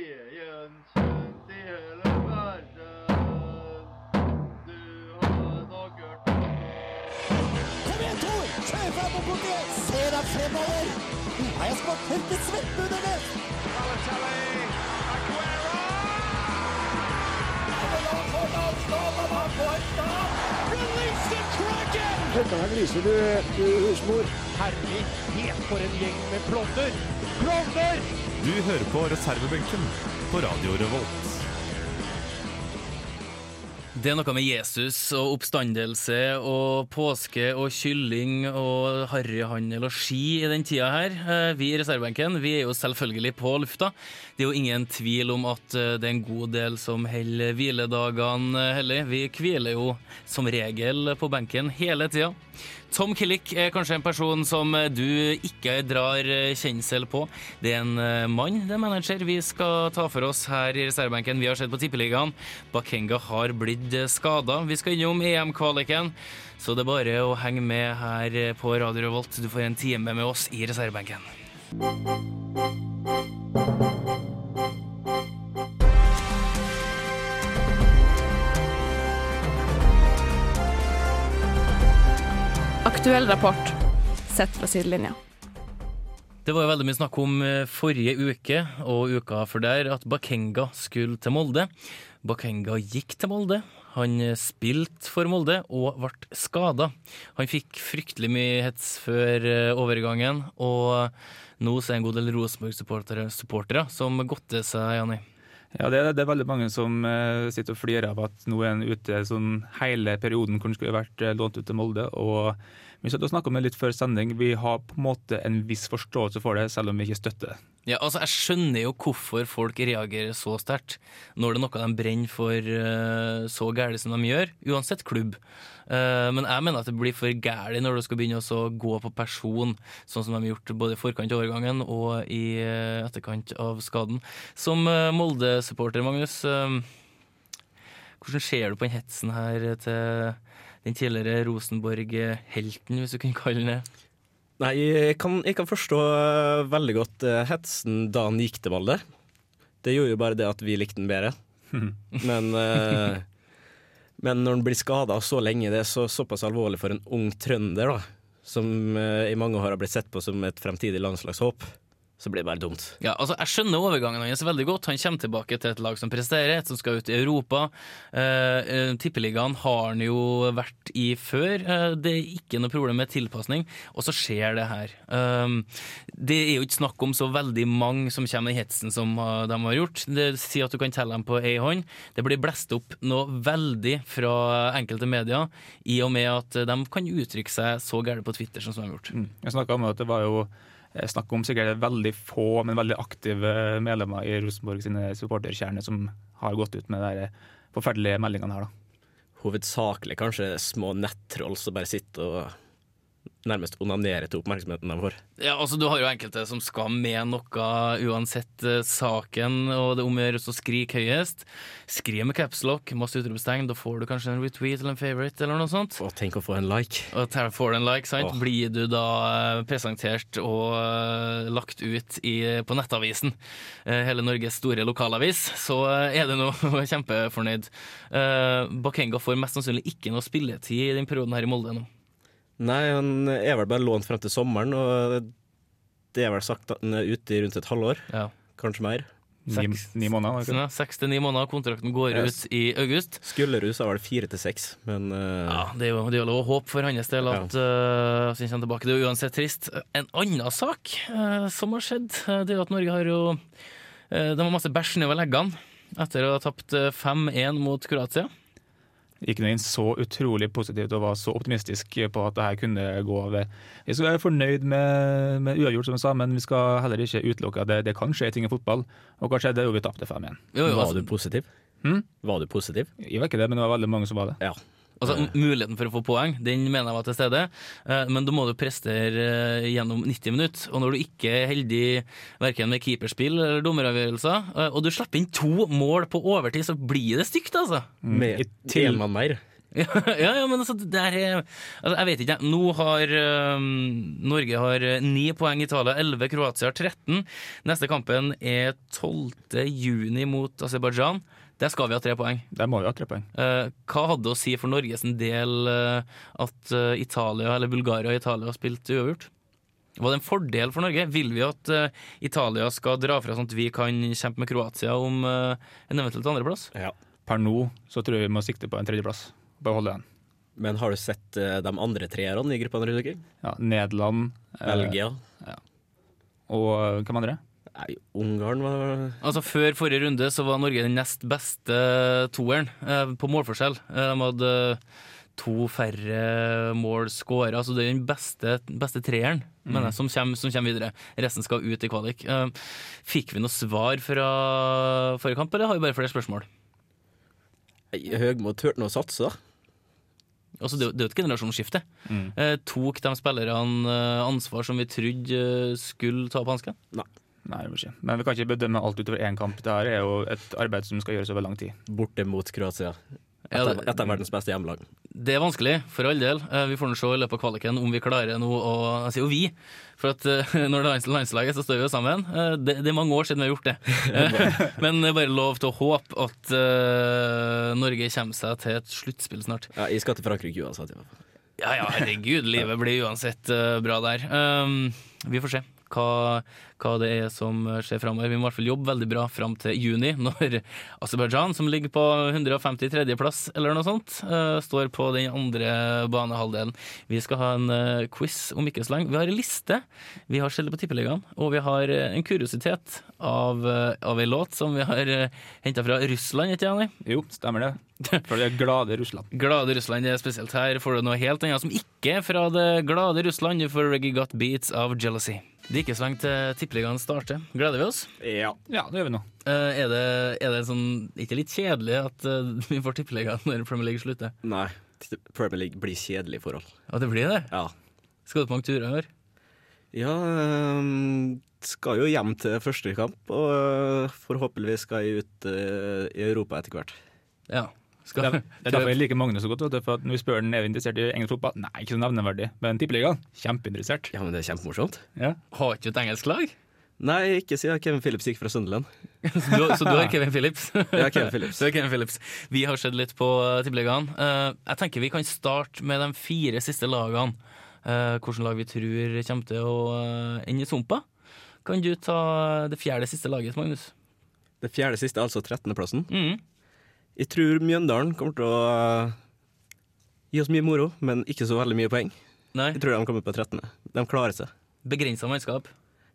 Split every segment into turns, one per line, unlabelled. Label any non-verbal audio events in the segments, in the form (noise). Veden kjent i hele verden. Du har nok hørt om
Kom igjen, Tor! Kjør fram og bort igjen! Se deg fremover! Nå har jeg spart helt til svetten under det!
Du hører på reservebenken på Radio Revolt.
Det er noe med Jesus og oppstandelse og påske og kylling og harryhandel og ski i den tida her. Eh, Vi i reservebenken vi er jo selvfølgelig på lufta. Det er jo ingen tvil om at eh, det er en god del som holder hviledagene eh, hellig. Vi hviler jo som regel på benken hele tida. Tom Killick er kanskje en person som du ikke drar kjensel på. Det er en eh, mann, det er manager, vi skal ta for oss her i reservebenken. Vi har sett på Tippeligaen. Bakenga har blitt skada. Vi skal innom EM-kvaliken, så det er bare å henge med her på Radio Revolt. Du får en time med oss i reservebenken.
Aktuell rapport sett fra sidelinja.
Det var jo veldig mye snakk om eh, forrige uke og uka før der at Bakenga skulle til Molde. Bakenga gikk til Molde. Han eh, spilte for Molde og ble skada. Han fikk fryktelig mye hets før eh, overgangen, og eh, nå så er en god del Rosenborg-supportere supportere som godter seg, Janni.
Ja, det, er- det er veldig mange som eh, sitter og flirer av at nå er han ute sånn hele perioden hvor han skulle vært eh, lånt ut til Molde. og Vi satt og snakket om det litt før sending. Vi har på en måte en viss forståelse for det, selv om vi ikke støtter det.
Ja, altså Jeg skjønner jo hvorfor folk reagerer så sterkt når det er noe de brenner for eh, så gærent som de gjør, uansett klubb. Eh, men jeg mener at det blir for gærent når du skal begynne også å gå på person, sånn som de har gjort både i forkant av overgangen og i eh, etterkant av skaden. Som eh, Molde-supporter, Magnus, eh, hvordan ser du på den hetsen her til den tidligere Rosenborg-helten, hvis du kunne kalle den det?
Nei, jeg kan, jeg kan forstå eh, veldig godt eh, hetsen da han gikk til Molde. Det gjorde jo bare det at vi likte han bedre. Men, eh, men når han blir skada så lenge, det er så, såpass alvorlig for en ung trønder, da, som eh, i mange år har blitt sett på som et fremtidig landslagshåp, så blir det bare dumt.
Ja, altså Jeg skjønner overgangen hans veldig godt. Han kommer tilbake til et lag som presterer, et som skal ut i Europa. Eh, eh, Tippeligaen har han jo vært i før. Eh, det er ikke noe problem med tilpasning. Og så skjer det her. Um, det er jo ikke snakk om så veldig mange som kommer i hetsen som eh, de har gjort. Det Si at du kan telle dem på ei hånd. Det blir blåst opp noe veldig fra enkelte medier, i og med at de kan uttrykke seg så gærent på Twitter som de har gjort.
Jeg snakket om at det var jo eh, snakk om sikkert veldig få, men veldig aktive medlemmer i Rosenborg sine supporterkjerner som har gått ut med de der forferdelige meldingene her. da.
Hovedsakelig kanskje små nettroll som bare sitter og nærmest onanerer til oppmerksomheten de får.
Ja, altså Du har jo enkelte som skal med noe uansett eh, saken, og det omgjør også å skrike høyest. Skriv med capslock, masse utropstegn, da får du kanskje en retweet eller en favorite eller noe sånt.
Og tenk å få en like.
Og der får du en like, sant?
Åh.
Blir du da eh, presentert og eh, lagt ut i, på nettavisen, eh, hele Norges store lokalavis, så eh, er du nå (laughs) kjempefornøyd. Eh, Bakenga får mest sannsynlig ikke noe spilletid i den perioden her i Molde nå.
Nei, han er vel bare lånt frem til sommeren, og det er vel sagt at han er ute i rundt et halvår,
Ja.
kanskje mer.
Ni,
Seks-
ni måneder. var det
Sånn,
ikke det?
ja, Seks til ni måneder, kontrakten går ut
Yes.
i august.
Skullerud sa vel fire til seks, men eh,
Ja, det er jo, det er jo lov å håpe for hans del at eh, at han kommer tilbake. Det er jo uansett trist. En annen sak eh, som har skjedd, eh, det er jo at Norge har jo eh, De har masse bæsj nedover leggene etter å ha tapt eh, 5-1 mot Kroatia.
Gikk nå inn så utrolig positivt og var så optimistisk på at det her kunne gå over. Vi skal være fornøyd med, med uavgjort, som jeg sa, men vi skal heller ikke utelukke at det, det kan skje ting i fotball. Og hva skjedde? Jo, vi tapte 5-1.
Jo, jo,
var
altså,
du positiv?
Hm?
Var du positiv?
Jeg var ikke det, men det var veldig mange som var det.
Ja.
altså, m- muligheten for å få poeng, den mener jeg var til stede, eh, men da må du prestere eh, gjennom 90 minutter. Og når du ikke er heldig verken med keeperspill eller dommeravgjørelser, eh, og du slipper inn to mål på overtid, så blir det stygt, altså.
Med
I til-
én mann mer.
(laughs) Ja, ja, ja, men altså, det er altså, Jeg vet ikke, jeg. Nå har øhm, Norge har øh, ni poeng Italia, 11 Kroatia, 13. Neste kampen er 12. juni mot Aserbajdsjan. Der skal vi ha tre poeng.
Der må vi ha tre poeng.
Eh, hva hadde det å si for Norges en del eh, at eh, Italia, eller Bulgaria og Italia spilte uavgjort? Var det en fordel for Norge? Vil vi at eh, Italia skal dra fra sånn at vi kan kjempe med Kroatia om eh, en eventuelt andreplass?
Ja.
Per nå så tror jeg vi må sikte på en tredjeplass. Bare holde den.
Men har du sett eh, de andre treerne i gruppene rundt omkring?
Ja, Nederland eh,
Belgia?
og eh, hvem andre?
Nei, Ungarn var
Altså Før forrige runde så var Norge den nest beste toeren eh, på målforskjell. Eh, de hadde to færre mål skåra, så det er den beste, beste treeren mener jeg, som, kommer, som kommer videre. Resten skal ut i kvalik. Eh, fikk vi noe svar fra forrige kamp, eller har vi bare flere spørsmål?
Nei, Høgmo turte nå å satse, da.
Altså, det, er jo- det er jo et generasjonsskifte.
Mm.
Eh, tok de spillerne eh, ansvar som vi trodde eh, skulle ta på hansken?
Nei, det må ikke. Men vi kan ikke bedømme alt utover én kamp. Dette er jo et arbeid som skal gjøres over lang tid.
Borte mot Kroatia. Et
Ja,
av,
det-
et av verdens beste hjemmelag.
Det er vanskelig, for all del. Eh, Vi får nå se i løpet av kvaliken om vi klarer nå å Jeg sier jo vi, for at eh, (laughs) når det er lands- landslaget, så står vi jo sammen. Eh, Det, det er mange år siden vi har gjort det. Eh, (laughs) Men det er bare lov til å håpe at eh, Norge kommer seg til et sluttspill snart.
Ja, jeg skal til Frankrike uansett. i hvert fall.
Ja ja, herregud, livet blir uansett eh, bra der. Um, Vi får se. Hva, hva det er som eh, skjer framover. Vi må i hvert fall jobbe veldig bra fram til juni, (laughs) når Aserbajdsjan, som ligger på 153.-plass eller noe sånt, eh, står på den andre banehalvdelen. Vi skal ha en eh, quiz om ikke så lenge. Vi har en liste. Vi har Skjellet på tippeligaen, og vi har eh, en kuriositet av, eh, av ei låt som vi har henta fra Russland, ikke sant?
Jo, stemmer (laughs) det. For det er glade Russland.
Glade Russland er spesielt her. Får du noe helt annet som ikke er fra det glade Russland? Du får Reggae Got Beats av Jealousy. Det er ikke så lenge til tippeligaen starter. Gleder vi oss?
Ja.
Ja, det gjør vi nå.
Eh, er det, er det sånn, ikke litt kjedelig at eh, (laughs) vi får tippeligaen når Premier League slutter?
Nei. Premier League blir kjedelig forhold.
Ja, det blir det.
Ja.
Skal du på mange turer i år?
Ja, ehm, skal jo hjem til første kamp, og øh, forhåpentligvis skal jeg ut øh, i Europa etter hvert.
Ja.
Det
Skal,
er det er derfor jeg liker Magne så godt. vet du, For at Når vi spør den er vi interessert i engelsk fotball, nei, ikke så nevneverdig, men tippeligaen, kjempeinteressert.
Ja, men det er kjempemorsomt.
Ja.
har ikke du et engelsk lag?
Nei, ikke siden Kevin Phillips gikk fra Sunderland.
Så du, så du har Kevin Phillips? (laughs)
Ja, (laughs) Kevin Phillips.
Du er Kevin Phillips. Vi har sett litt på eh, tippeligaen. Eh, jeg tenker vi kan starte med de fire siste lagene. Uh, Hvilke lag vi tror kommer til å eh, ende i sumpa. Kan du ta det fjerde siste laget, Magnus?
Det fjerde siste, altså 13.-plassen.
Mhm.
Jeg tror Mjøndalen kommer til å øh, gi oss mye moro, men ikke så veldig mye poeng.
Nei,
Jeg tror de kommer på 13. De klarer seg.
begrensa mannskap.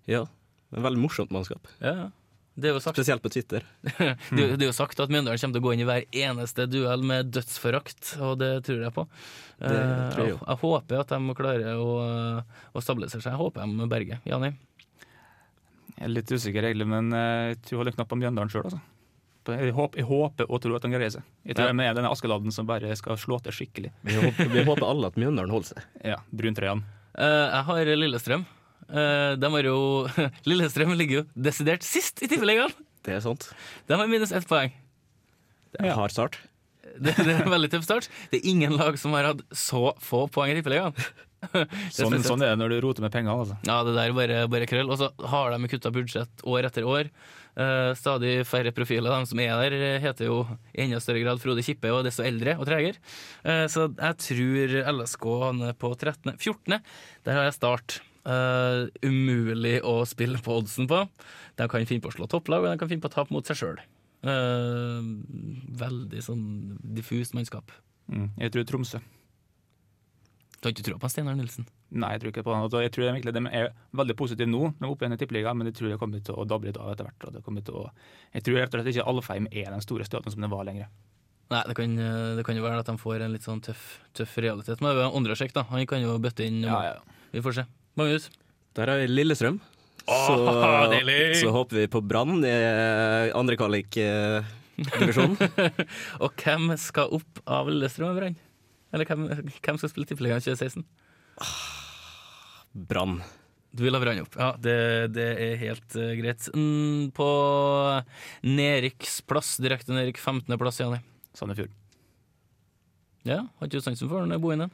Ja. En veldig morsomt mannskap.
Ja, ja. det, er jo sagt, (laughs)
Spesielt på Twitter.
det, det er jo sagt at Mjøndalen kommer til å gå inn i hver eneste duell med dødsforakt, og det tror jeg på. Eh,
tror jeg jo.
jeg, håper at de klarer å, eh, å stabilisere seg. Jeg håper de berger. Jani?
Jeg er litt usikker egentlig, men eh, jeg tror jeg holder knapp på Mjøndalen sjøl, altså. Jeg håper, jeg håper og tror at han greier seg. Jeg tror
Ja.
jeg er med denne Askeladden som bare skal slå til skikkelig.
Vi håper, vi håper alle at Mjøndalen holder seg.
Ja, Bruntrøyene.
Eh, jeg har Lillestrøm. Eh, de har jo (laughs) Lillestrøm ligger jo desidert sist i tippeligaen!
Det er sant.
De har minus ett poeng.
Det er
Ja.
hard start.
Det, det er en veldig tøff start. Det er ingen lag som har hatt så få poeng i tippeligaen.
Sånn,
spesielt.
sånn er det når du roter med penger, altså.
Ja, det der er bare, bare krøll. Og så har de kutta budsjett år etter år. Eh, stadig færre profiler. De som er der, eh, heter jo i enda større grad Frode Kippe og er desto eldre og tregere. Eh, så jeg tror LSK havner på 13. 14. Der har jeg start. Eh, umulig å spille på oddsen på. De kan finne på å slå topplag, og de kan finne på å tape mot seg sjøl. veldig sånn diffust mannskap.
Mm. Jeg tror Tromsø.
Du har ikke trua på Steinar Nilsen?
Nei, jeg tror ikke på han. Altså, Jeg tror egentlig de er veldig positive nå, de er oppe igjen i tippeligaen, men jeg tror det kommer til å dabbe litt av etter hvert. Og det kommer til å, jeg tror rett og slett ikke Alfheim er den store støten som den var lenger.
Nei, det kan, det kan jo være at de får en litt sånn tøff, tøff realitet. Men det er jo andre sjekk, da. Han kan jo bøtte inn.
Ja, ja, ja.
Vi får se. Magnus?
Der er Lillestrøm. Så,
deilig!
så håper vi på Brann i eh, andre eh,
(laughs)
kvalik-divisjon.
Og hvem skal opp av Lillestrøm og Brann? Eller hvem, hvem skal spille tippeligaen 2016?
Brann.
Du vil ha Brann opp. Ja, det, det er helt eh, greit. Mm, på nedrykksplass, direkte nedrykk, 15. plass, Jani.
Sandefjord.
Ja, Har ikke du sansen for den boende?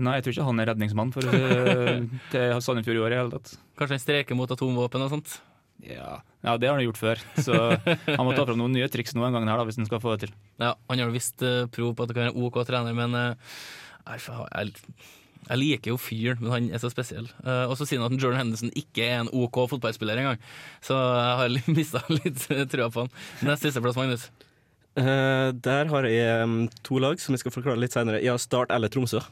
Nei, jeg tror ikke han er redningsmann for eh, til Sandefjord i år i hele tatt.
Kanskje han streker mot atomvåpen og sånt?
Ja. ja, det har han jo gjort før, så han må ta fram noen nye triks nå en gang her da, hvis han skal få det til.
Ja, Han har visst eh, prov på at han kan være en OK trener, men eh, nei, faen, jeg, jeg liker jo fyren, men han er så spesiell. Eh, og så sier han at Jordan Henderson ikke er en OK fotballspiller engang, så jeg (laughs) har mista litt eh, trua på han. Nest sisteplass, Magnus.
Eh, der har jeg em, to lag som jeg skal forklare litt senere. Ja, Start eller Tromsø.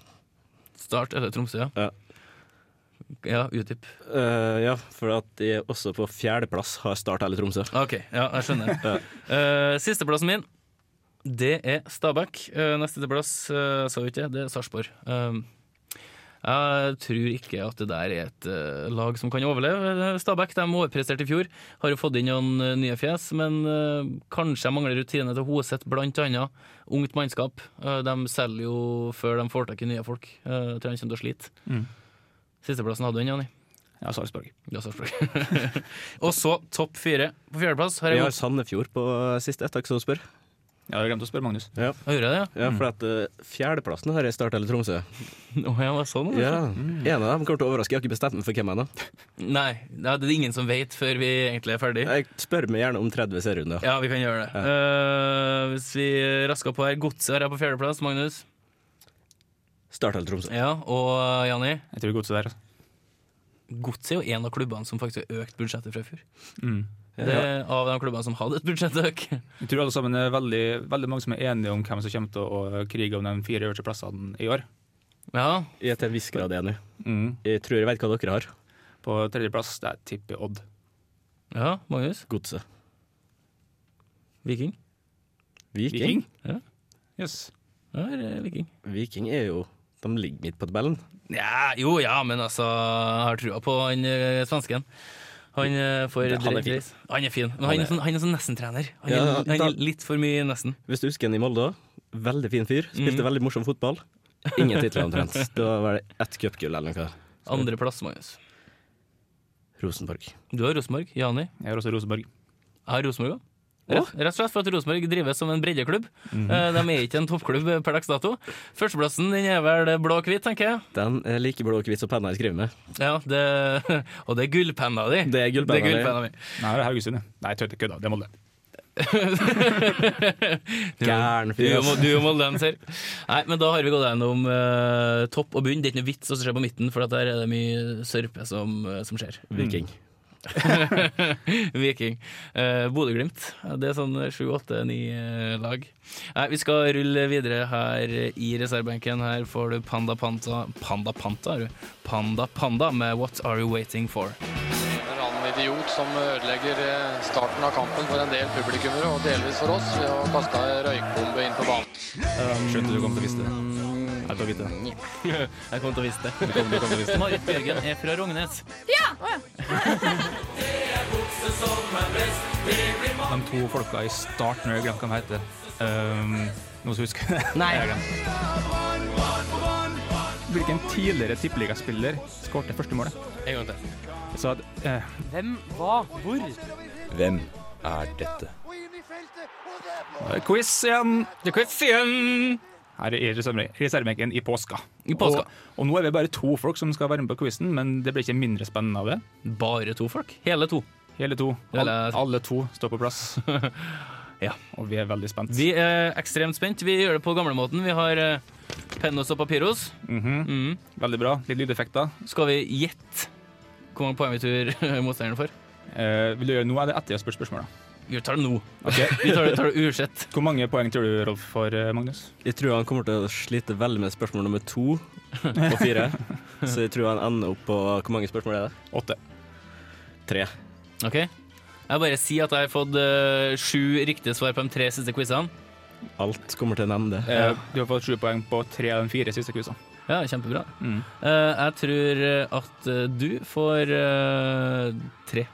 Start eller Tromsø, ja.
Ja.
Ja, utdyp.
Eh, ja, for at jeg også på fjerdeplass har Start eller Tromsø.
OK, ja, jeg skjønner. Eh, Sisteplassen min, det er Stabæk. Eh, Neste til plass, eh, sa vi ikke, det er Sarpsborg. Eh, Jeg tror ikke at det der er et eh, lag som kan overleve. Eh, Stabæk de overpresterte i fjor, har jo fått inn noen eh, nye fjes, men eh, kanskje de mangler rutine til Hoseth, blant annet. Ungt mannskap. Eh, De selger jo før de får tak i nye folk. Eh, Jeg tror han kommer til å slite.
Mm.
Sisteplassen hadde han, Jonny.
Ja, Sarpsborg.
Ja, Sarpsborg. (laughs) og så topp fire. På fjerdeplass har
Vi
jeg
har Sandefjord på eh, siste, takk som du spør.
Ja, jeg glemte å spørre Magnus.
Å, Gjør jeg det, ja? Mm.
Ja, for at eh, fjerdeplassen har jeg Start eller Tromsø.
Å, ja, var det sånn, altså?
Ja, En av dem kommer til å overraske, jeg har ikke bestemt meg for hvem ennå.
Nei, ja, det er ingen som vet før vi egentlig er ferdig.
Jeg spør meg gjerne om 30 serierunder.
Ja, vi kan gjøre det. Eh, hvis vi rasker på her, Godset har jeg på fjerdeplass, Magnus.
Start eller Tromsø.
Ja, Og eh, Jani,
Jeg tror det er godt så der. altså.
Godset er jo en av klubbene som faktisk har økt budsjettet fra i fjor.
Mm.
Det er av de klubbene som hadde et budsjettøk.
Jeg tror alle sammen er veldig, veldig mange som er enige om hvem som kommer til å krige om de fire øverste plassene i år.
(laughs) Ja,
Jeg er til en viss grad enig.
Mm.
Jeg tror jeg vet hva dere har.
På tredjeplass der tipper jeg Odd.
ja, Magnus.
Godset.
Viking.
Viking?
Ja.
Yes.
Ja, her er Viking.
Viking er jo De ligger midt på tabellen.
Ja, jo, ja, men altså Jeg har trua på han eh, svensken. Han eh, får
Det- han er
dreit
fin.
pris. Han er fin. Men han,
Han er-
er sånn, han er sånn nesten-trener. Han,
Ja,
er- han
da-
er litt for mye nesten.
Hvis du husker han i Molde, veldig fin fyr. Spilte
Mhm.
veldig morsom fotball. Ingen titler omtrent. Det var vel ett cupgull eller noe.
Andreplass, Magnus.
Rosenborg.
Du har Rosenborg. Jani.
Jeg har også Rosenborg.
Jeg har Rosenborg òg. Rett, rett og slett for at Rosenborg drives som en breddeklubb.
Mhm.
Eh, De er ikke en toppklubb per dags dato. Førsteplassen den er vel blå-hvit, tenker jeg.
Den er like blå og hvit som penna jeg skriver med.
Ja, det, (laughs) og det er gullpenna di.
Det er gullpenna di.
gullpenna mi.
Nei, det er Haugesund. ja. Nei, tøyte kødda. Det er Molde.
Gæren
Du
fyr.
og Mol- du og moldenser. Nei, men da har vi gått gjennom eh, topp og bunn. Det er ikke noe vits å se på midten, for at der er det mye sørpe som, eh, som skjer.
Viking.
Viking. Eh, Bodø-Glimt. Det er sånn sju, åtte, ni eh, lag. Nei, vi skal rulle videre her i reservebenken. Her får du Panda Panta Panda Panta, er du? Panda Panda med What Are You Waiting For?
En eller annen idiot som ødelegger eh, starten av kampen for en del publikummere, og delvis for oss, ved å kaste ei røykbombe inn på banen.
Skjønte du kom til å vise det. Jeg tar vite det.
(laughs) Jeg kommer til å vise det. Marit Bjørgen er fra Rognes.
De to folka i starten, jeg glemte hva de heter. Um, noen som husker (laughs) det? Nei. Hvilken tidligere tippeligaspiller skåret første målet?
En gang til.
Jeg sa at eh,
Hvem er dette?
Quiz igjen!
Det kan vi se.
Her er reserve- reservebenken i påska.
I påska.
Og, og nå er vi bare to folk som skal være med på quizen, men det blir ikke mindre spennende av det.
Bare to folk. Hele to.
Hele to. Al
Eller-
alle to står på plass.
(laughs) Ja.
Og vi er veldig spent.
Vi er ekstremt spent. Vi gjør det på gamlemåten. Vi har eh, pennos og papiros.
Mhm.
Mhm.
Veldig bra. Litt lydeffekter.
Skal vi gjette hvor mange poeng vi tror (laughs) motstanderen får?
Eh, vil du gjøre det nå, eller etter jeg har spurt spørsmålet?
Vi tar det nå.
Ok.
Vi tar det, tar det usett.
(laughs) Hvor mange poeng tror du Rolf får, eh, Magnus?
Jeg tror han kommer til å slite veldig med spørsmål nummer to og fire. Så jeg tror han ender opp på Hvor mange spørsmål er det?
Åtte.
Tre.
Ok? Jeg bare sier at jeg har fått eh, sju riktige svar på de tre siste quizene.
Alt kommer til en ende.
Eh, du har fått sju poeng på tre av de fire siste quizene.
Ja, kjempebra.
Mm.
Eh, jeg tror eh, at eh, du får eh, tre.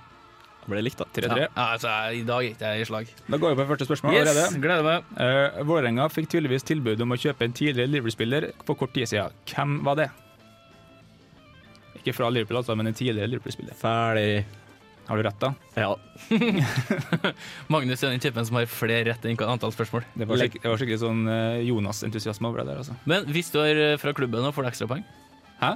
Ble likt, da.
Tre, tre.
Ja, altså, jeg, I dag gikk det i slag.
Da går vi på første spørsmål allerede.
Gleder meg.
Eh, Vålerenga fikk tydeligvis tilbud om å kjøpe en tidligere Liverpool-spiller for kort tid siden. Hvem var det? Ikke fra Liverpool, altså, men en tidligere Liverpool-spiller.
Ferdig.
Har du rett, da?
Ja,
Magnus er den typen som har flere rett enn antall spørsmål.
Det var, skikk- det var skikkelig sånn eh, Jonas-entusiasme over det der, altså.
Men hvis du er eh, fra klubben, da får du ekstrapoeng?
Hæ?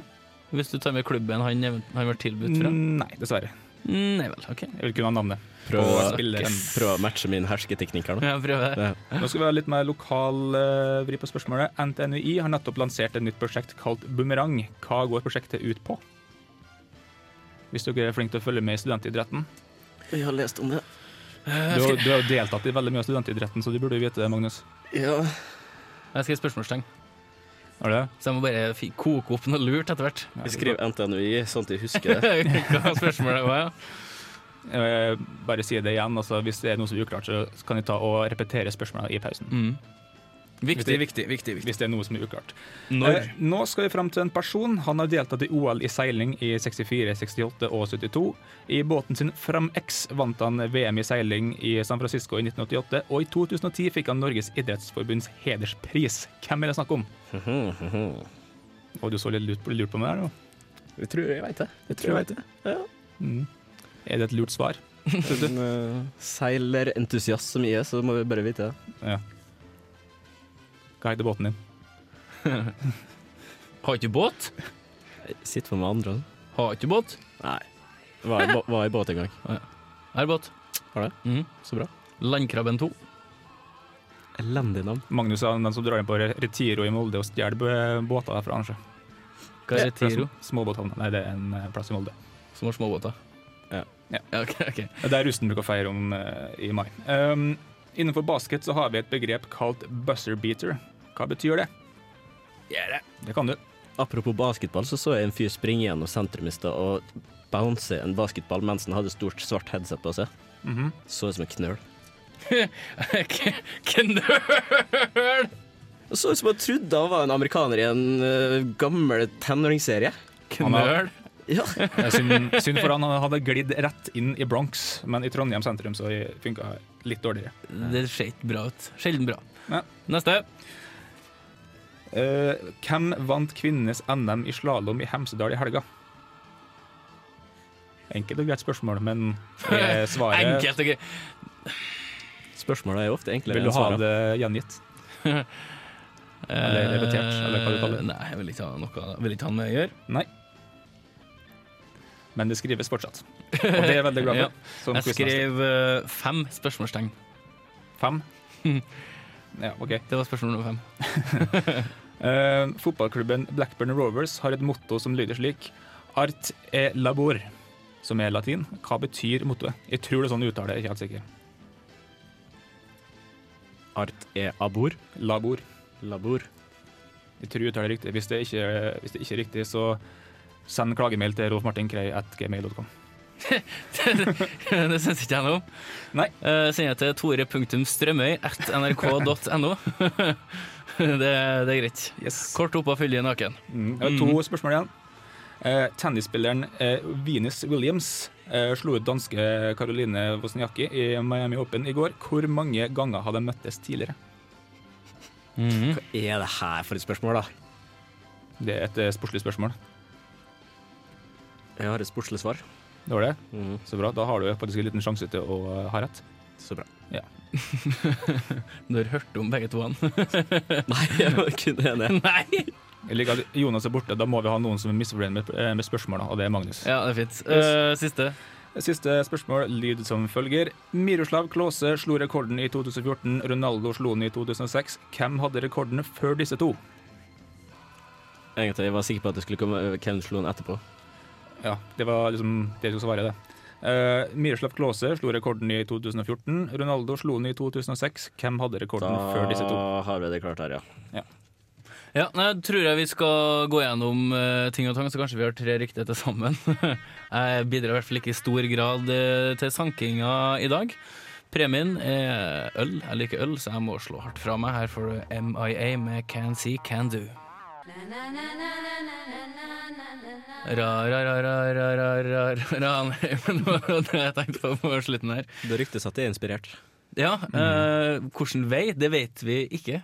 Hvis du tar med klubben han, event- han var tilbudt fra?
Mm, Nei, dessverre.
Mm, Nei vel, OK.
Jeg vil kunne ha navnet.
prøv,
Og
å-
spilleren.
(laughs)
prøv å matche min hersketeknikk her nå.
Jeg prøver det.
Ja.
Nå skal vi ha litt mer lokal eh, vri på spørsmålet. NTNUI har nettopp lansert et nytt prosjekt kalt Bumerang. Hva går prosjektet ut på? Hvis dere er flinke til å følge med i studentidretten.
Jeg har lest om det.
Du, har- du har jo deltatt i veldig mye av studentidretten, så du burde jo vite det, Magnus.
Ja.
Jeg skriver spørsmålstegn,
Er det?
så jeg må bare fi- koke opp noe lurt etter hvert.
Vi skriver NTNUI, sånn at jeg husker (laughs) det.
(laughs) Hva spørsmålet var, ja.
Eh, Bare si det igjen. Altså, hvis det er noe som er uklart, så kan jeg ta og repetere spørsmålet i pausen.
Mm.
Viktig,
Viktig.
viktig, viktig, Hvis det er noe som er uklart.
Når?
Eh, nå skal vi fram til en person. Han har deltatt i OL i seiling i 64, 68 og 72. I båten sin Fram X vant han VM i seiling i San Francisco i 1988, og i 2010 fikk han Norges idrettsforbunds hederspris. Hvem er det snakk om?
Mhm,
Og du så litt lurt, på- lurt på meg der nå.
Jeg tror jeg veit det. Jeg tror jeg vet det.
Mm. Er det et lurt svar? Synes du?
Men, eh, Seilerentusiast som jeg er, E så må vi bare vite det.
Ja. Hva heter båten din?
Har ikke båt?
Jeg sitter for meg andre. da.
Har ikke båt?
Nei. Var i, bå- var i båt en gang.
Er båt.
Har det? Mm,
Mhm.
Så bra.
Landkrabben 2.
Elendig navn.
Magnus er den som drar inn på Re- Retiro i Molde og stjeler b- båter derfra, kanskje.
Hva er
Fra
Tiro?
sm- Småbåthavna. Nei, det er en eh, plass i Molde.
Som har småbåter?
Ja.
ja. (laughs) ok, ok.
Det er russen bruker å feire om eh, i mai. Um, innenfor basket så har vi et begrep kalt buzzer beater. Hva betyr det? Det kan du.
Apropos basketball, så så jeg en fyr springe gjennom sentrum i stad og bounce en basketball mens han hadde stort svart headset på seg. Så ut som en knøl.
Knøl!
Og så ut som han trodde han var en amerikaner i en eh, gammel tenåringsserie.
Knøl?
Ja.
Det er Synd, synd for han, han hadde glidd rett inn i Bronx, men i Trondheim sentrum så funka litt dårligere.
Det ser ikke bra ut. Sjelden bra.
Ja.
Neste.
Eh, hvem vant kvinnenes NM i slalåm i Hemsedal i helga? Enkelt og greit spørsmål, men (laughs) eh, svaret
Enkelt og greit.
Spørsmåla er jo ofte enklere
Vil du
enn
ha
svarene.
det gjengitt? Eller repetert, eller hva du kaller det.
Eh, Nei, jeg vil ikke ha noe Vil ikke ha noe å gjøre.
Nei. Men det skrives fortsatt. Og det er jeg veldig (laughs) glad for.
Ja.
som
Jeg
quizmaster.
skrev eh, fem spørsmålstegn.
Fem. (laughs) Ja, ok.
Det var spørsmål nummer fem. (laughs)
Eh, fotballklubben Blackburn Rovers har et motto som lyder slik Art e labor, som er latin. Hva betyr mottoet? Jeg tror det er sånn du uttaler det, jeg er ikke helt sikker.
Art e abor.
Labor.
Labor.
Jeg tror jeg uttaler det riktig. Hvis det ikke, hvis det ikke er riktig, så send klagemail til rolfmartinkrei.gmail.com.
det syns ikke jeg noe om.
Nei.
Eh, sender jeg til tore.strømøy.nrk.no. (laughs) det, det er greit.
Yes.
Kort opp og fyldig naken.
Mm. Jeg har to spørsmål igjen. Eh, tennisspilleren eh, Venus Williams eh, slo ut danske Caroline Wozniacki i Miami Open i går. Hvor mange ganger har de møttes tidligere?
Hva er det her for et spørsmål, da?
Det er et eh, sportslig spørsmål.
Jeg har et sportslig svar.
Det var det? Så bra. Da har du faktisk en liten sjanse til å eh, ha rett.
Mhm, Så bra.
Du har hørt om begge to? han.
(laughs) Nei, jeg var kun (laughs) enig.
Nei!
Jeg liker at Jonas er borte. Da må vi ha noen som er misfornøyd med, eh, med spørsmålene, og det er Magnus.
Ja, det er fint. Eh, siste.
Siste spørsmål lyder som følger. Miroslav Klause slo rekorden i 2014, Ronaldo slo den i 2006. Hvem hadde rekordene før disse to?
Egentlig, jeg var sikker på at det skulle komme øh, hvem slo den etterpå.
Ja, det var liksom det som svaret, det. Uh, Miroslav Klause slo rekorden i 2014. Ronaldo slo den i 2006. Hvem hadde rekorden før disse to?
Da har vi det klart her, ja.
Ja, nei, jeg tror jeg vi skal gå gjennom eh, ting og tang, så kanskje vi har tre riktige til sammen. jeg bidrar i hvert fall ikke i stor grad eh, til sankinga i dag. Premien er øl. Jeg liker øl, så jeg må slå hardt fra meg. Her får du MIA med Can See Can Do. Ra-ra-ra-ra-ra-ra-ra-ra Men det var det jeg tenkte på på slutten her. Mm.
Det ryktes at det er inspirert.
Ja, eh, hvilken vei, det vet vi ikke.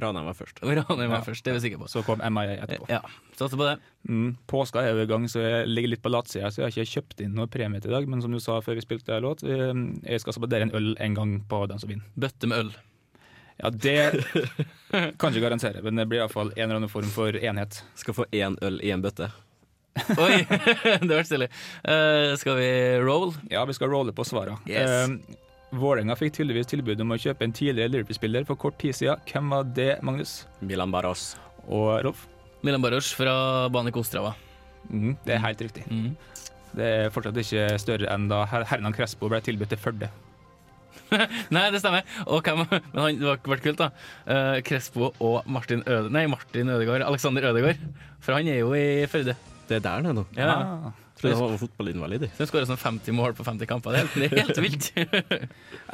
Ranheim var først.
Ranheim var
Ja.
først, det er vi sikre på.
Så kom MIA etterpå.
Ja, Satser på det.
Mm. Påska er jo i gang, så jeg ligger litt på latsida, så jeg har ikke kjøpt inn noe premie til i dag. Men som du sa før vi spilte låt, eh, jeg skal spandere en øl en gang på den som vinner.
Bøtte med øl.
Ja, det kan ikke garantere, men det blir iallfall en eller annen form for enhet.
Skal få én øl i en bøtte.
Oi, (laughs) det var stilig. Eh, skal vi roll?
Ja, vi skal rolle på svara.
Yes.
Ehm,
Eh, Vålerenga fikk tydeligvis tilbud om å kjøpe en tidligere Liverpool-spiller for kort tid siden. Hvem var det, Magnus?
Milan Barros.
Og Rolf?
Milan Baros fra Bane Kostrava.
Mm, det er helt riktig.
Mm.
Det er fortsatt ikke større enn da Her- Hernan Crespo ble tilbudt til Førde.
Nei, det stemmer. Og hvem, men han, det har vært kult, da. Eh, Crespo og Martin Øde... Nei, Martin Ødegaard. Alexander Ødegaard. For han er jo i Førde.
Det er der, det, nå.
Ja.
Ah.
Trodde han var fotballinvalid.
Så han skårer sånn 50 mål på 50 kamper. Det er helt, det (laughs) er helt vilt.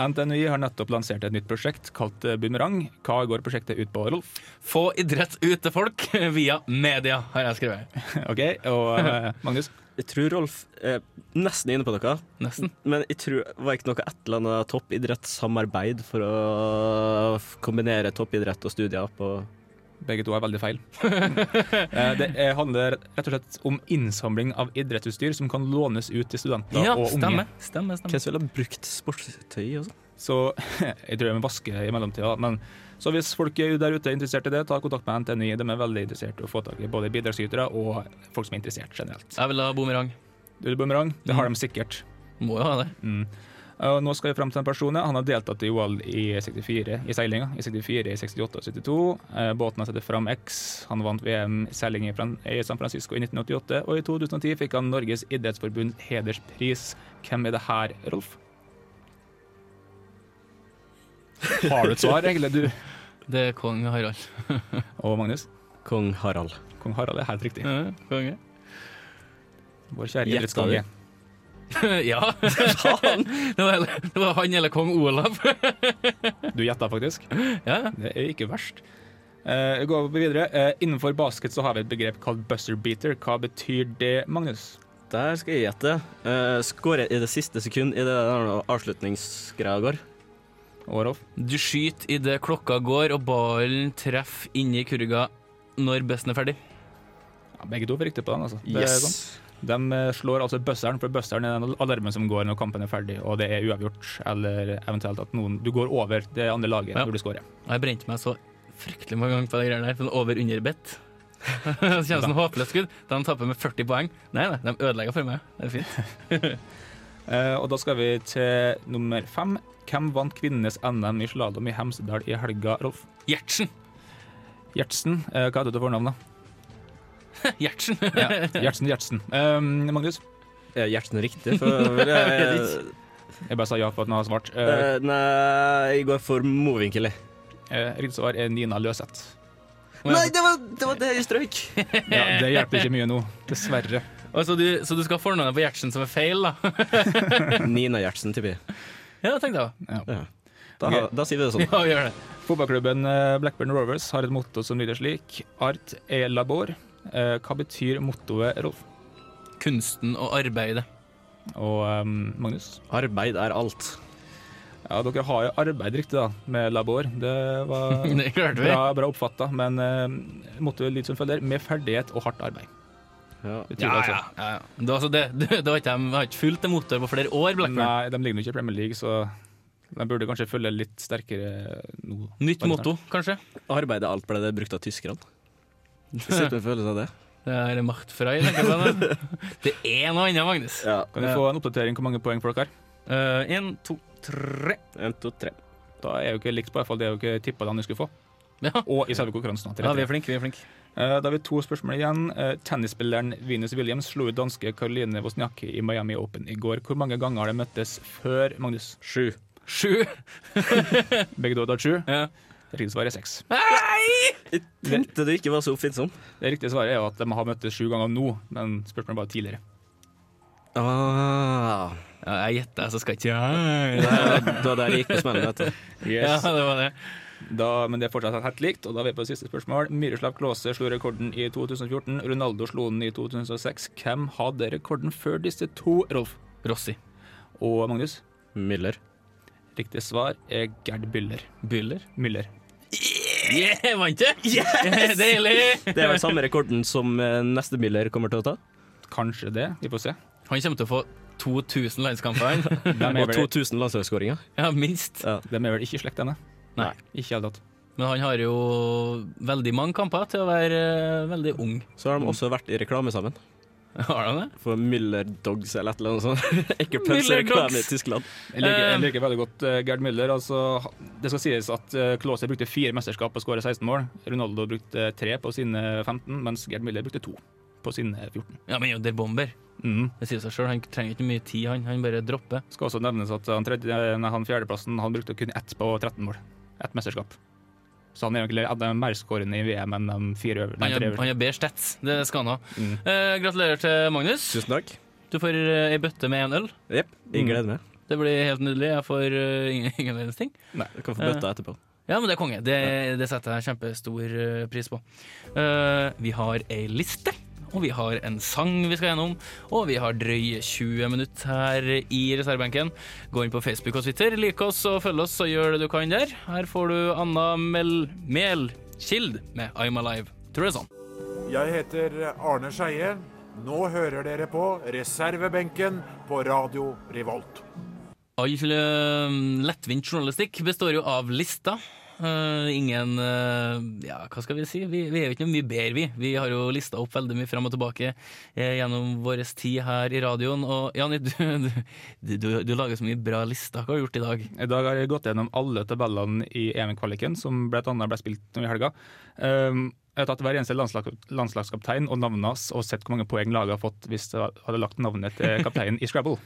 NTNUI har nettopp lansert et nytt prosjekt kalt eh, Bumerang. Hva går prosjektet ut på, Rolf?
Få idrett ut til folk via media, har jeg skrevet.
Ok,
(laughs)
og eh, Magnus?
Jeg tror Rolf er nesten inne på noe.
Nesten.
Men jeg tror var ikke noe et eller annet toppidrettssamarbeid for å f- kombinere toppidrett og studier på
Begge to er veldig
(laughs)
feil. Eh, det eh, handler rett og slett om innsamling av idrettsutstyr som kan lånes ut til studenter
Ja,
og unge.
stemmer. stemmer, stemmer.
Hvem som ville ha brukt sportstøy og sånn?
Så (laughs) jeg tror jeg må vaske i mellomtida. Men så hvis folk der ute er interessert i det, ta kontakt med NTNU. De er veldig interessert i å få tak i både bidragsytere og folk som er interessert generelt.
Jeg vil ha bumerang.
Du, Bumerang, det
Mm.
har de sikkert.
Må jo ha det.
Mm. Og nå skal vi fram til en person. ja. Han har deltatt i OL i 64 i seilinga. I 64, i 68 og 72. Eh, Båten har satt fram X. Han vant VM i seiling i Fran- i San Francisco i 1988. Og i 2010 fikk han Norges idrettsforbund hederspris. Hvem er det her, Rolf? Har du et svar, egentlig? Du
Det er kong Harald.
og Magnus?
Kong Harald.
Kong Harald er helt riktig.
Ja, konge.
Vår kjære
Gjetta (laughs)
idrettskonge.
(laughs) Ja. Det var, det var han eller kong Olav. (laughs)
Du gjetta faktisk.
Ja.
Det er ikke verst. Eh, Vi går videre. Eh, innenfor basket så har vi et begrep kalt buzzer beater. Hva betyr det, Magnus?
Der skal jeg gjette. Uh, Skåre i det siste sekund i det der avslutningsgreia går.
Og Rolf?
Du skyter idet klokka går, og ballen treffer inni kurga når besten er ferdig.
Ja, begge to fikk riktig på den. altså. Det er sånn. De eh, slår altså buzzeren, for buzzeren er den alarmen som går når kampen er ferdig og det er uavgjort, eller eventuelt at noen Du går over det andre laget
Ja.
når du scorer.
Og jeg brente meg så fryktelig mange ganger på de greiene der. Sånn over-under-bet. Så kommer (laughs) det sånn håpløst skudd. De taper med 40 poeng. Nei, nei, de ødelegger for meg. Det er fint.
Eh, og da skal vi til nummer fem. Hvem vant kvinnenes NM i slalåm i Hemsedal i helga, Rolf?
Gjertsen! (laughs)
Gjertsen. Eh, hva heter du til fornavn, da?
Gjertsen!
Gjertsen Gjertsen. Eh, Magnus?
Er Gjertsen riktig? (laughs) For, jeg,
Jeg bare sa ja for at den har svart. Eh,
Eh, nei, jeg går for movinkel, jeg.
Eh, Riktig svar er Nina
(laughs)
Løseth.
Nei, det var det, var det jeg strøk!
Ja, det hjelper ikke mye nå, dessverre.
Og så, du, så du skal ha fornavnet på Gjertsen som er feil, da?
(laughs)
(laughs)
Nina Gjertsen, tipper jeg.
Ja, tenkte jeg.
Ja. Da, da sier vi det (laughs) sånn.
Ja, gjør det.
Fotballklubben eh, Blackburn Rovers har et motto som lyder slik Art e labor. Eh, Hva betyr mottoet, Rolf?
Kunsten og arbeidet.
Og ehm, Magnus?
Arbeid er alt.
Ja, dere har jo arbeid riktig, da, med labor. Det var
(laughs) Det klarte vi.
bra, bra oppfatta, men eh, mottoet lyder som følger med ferdighet og hardt arbeid.
Ja.
Betyr
Ja,
det altså.
ja. ja, ja. Det, var altså det, det, det var ikke, de har ikke fulgt en motor på flere år, Blackburn.
Nei, de ligger jo ikke i Premier League, så de burde kanskje følge litt sterkere nå.
Nytt motto, kanskje?
Arbeid er alt ble det brukt av tyskerne. Jeg sitter med følelsen av det.
(laughs) Det er maktfrei, tenker (laughs) jeg på. det. Det er noe annet, Magnus.
Ja.
Kan vi få en oppdatering hvor mange poeng folk har?
Én, Eh, to, tre.
En, to, tre.
Da er jo ikke likt på, i hvert fall det er jo ikke tippa de skulle få.
Ja.
Og i selve konkurransen.
ja, vi er flinke, vi er flinke.
Eh, Da har vi to spørsmål igjen. Eh, Tennisspilleren Venus Williams slo ut danske Karoline Wozniacki i Miami Open i går. Hvor mange ganger har de møttes før, Magnus?
Sju.
Sju.
Begge to har tatt sju.
Ja.
Riktig svar er seks.
Jeg tenkte du ikke var så oppfinnsom.
Det riktige svaret er jo at de har møttes sju ganger nå, men spørsmålet er bare tidligere.
Ah.
Ja, jeg gjetter, så skal ikke jeg
Det var- det var der jeg gikk på smellen, vet du.
Ja, det var det.
Da, men det er fortsatt helt likt, og da er vi på siste spørsmål. Miroslav Klause slo rekorden i 2014, Ronaldo slo den i 2006. Hvem hadde rekorden før disse to, Rolf?
Rossi.
Og Magnus?
Müller.
Riktig svar er Gerd Byller.
Byller.
Müller.
Yeah, vant det! Yes! (laughs) Deilig!
Det er vel samme rekorden som eh, neste Miller kommer til å ta.
Kanskje det. Vi får se.
Han kommer til å få 2000 landskamper, (laughs) han.
De er
Og
vel,
2000 landslagsskåringer.
Ja, minst.
de er vel ikke i slekt, denne?
Nei.
Ikke i det hele tatt.
Men han har jo veldig mange kamper til å være eh, veldig ung.
Så har de også vært i reklame sammen.
Har han det?
For Müller Dogs eller et eller annet sånt. (laughs) Ikke pølse
Müller
reklame i
Dogs.
Tyskland.
Jeg liker, jeg
Eh,
liker veldig godt eh, Gerd Müller. Altså, det skal sies at uh, Klause brukte fire mesterskap og skåret 16 mål. Ronaldo brukte tre på sine 15, mens Gerd Müller brukte to på sine 14.
Ja, men jo, det er bomber.
Mm.
Det sier seg sjøl. Han trenger ikke mye tid, han. Han bare dropper.
Skal også nevnes at eh, han, tredje, nei, han fjerdeplassen han brukte kun ett på 13 mål. Ett mesterskap. Så han er egentlig hadde mer skårende i VM enn de fire øvrige.
Han
de
har,
tre
han
øvrige.
har bedre stats. Det skal han ha.
Mm.
Eh, gratulerer til Magnus.
Tusen takk.
Du får eh, ei bøtte med en øl.
Jepp. Jeg gleder meg.
Det blir helt nydelig. Jeg får eh, ingen, (laughs) ingen verdens ting.
Jeg kan få bøtta etterpå.
Ja, men det er konge. Det, det setter jeg kjempestor eh, pris på. Eh, vi har ei liste, og vi har en sang vi skal gjennom, og vi har drøye 20 minutter her i reservebenken. Gå inn på Facebook og Twitter, lik oss og følg oss, og gjør det du kan der. Her får du Anna Mel Melkild med I'm Alive. Tror det er sånn.
Jeg heter Arne Skeie. Nå hører dere på reservebenken på Radio Revolt.
All eh, lettvint journalistikk består jo av lister. Eh, ingen eh, Ja, hva skal vi si? Vi, vi er jo ikke noe mye bedre, vi. Vi har jo lista opp veldig mye fram og tilbake eh, gjennom vår tid her i radioen. Og Jani, (laughs) du, du, du, du lager så mye bra lister. Hva har du gjort i dag?
I dag har jeg gått gjennom alle tabellene i EM-kvaliken, som blant annet ble spilt nå i helga. Um, jeg har tatt hver eneste landslag, landslagskaptein og navnet hans, og sett hvor mange poeng laget har fått hvis jeg hadde lagt navnet til kapteinen i Scrabble.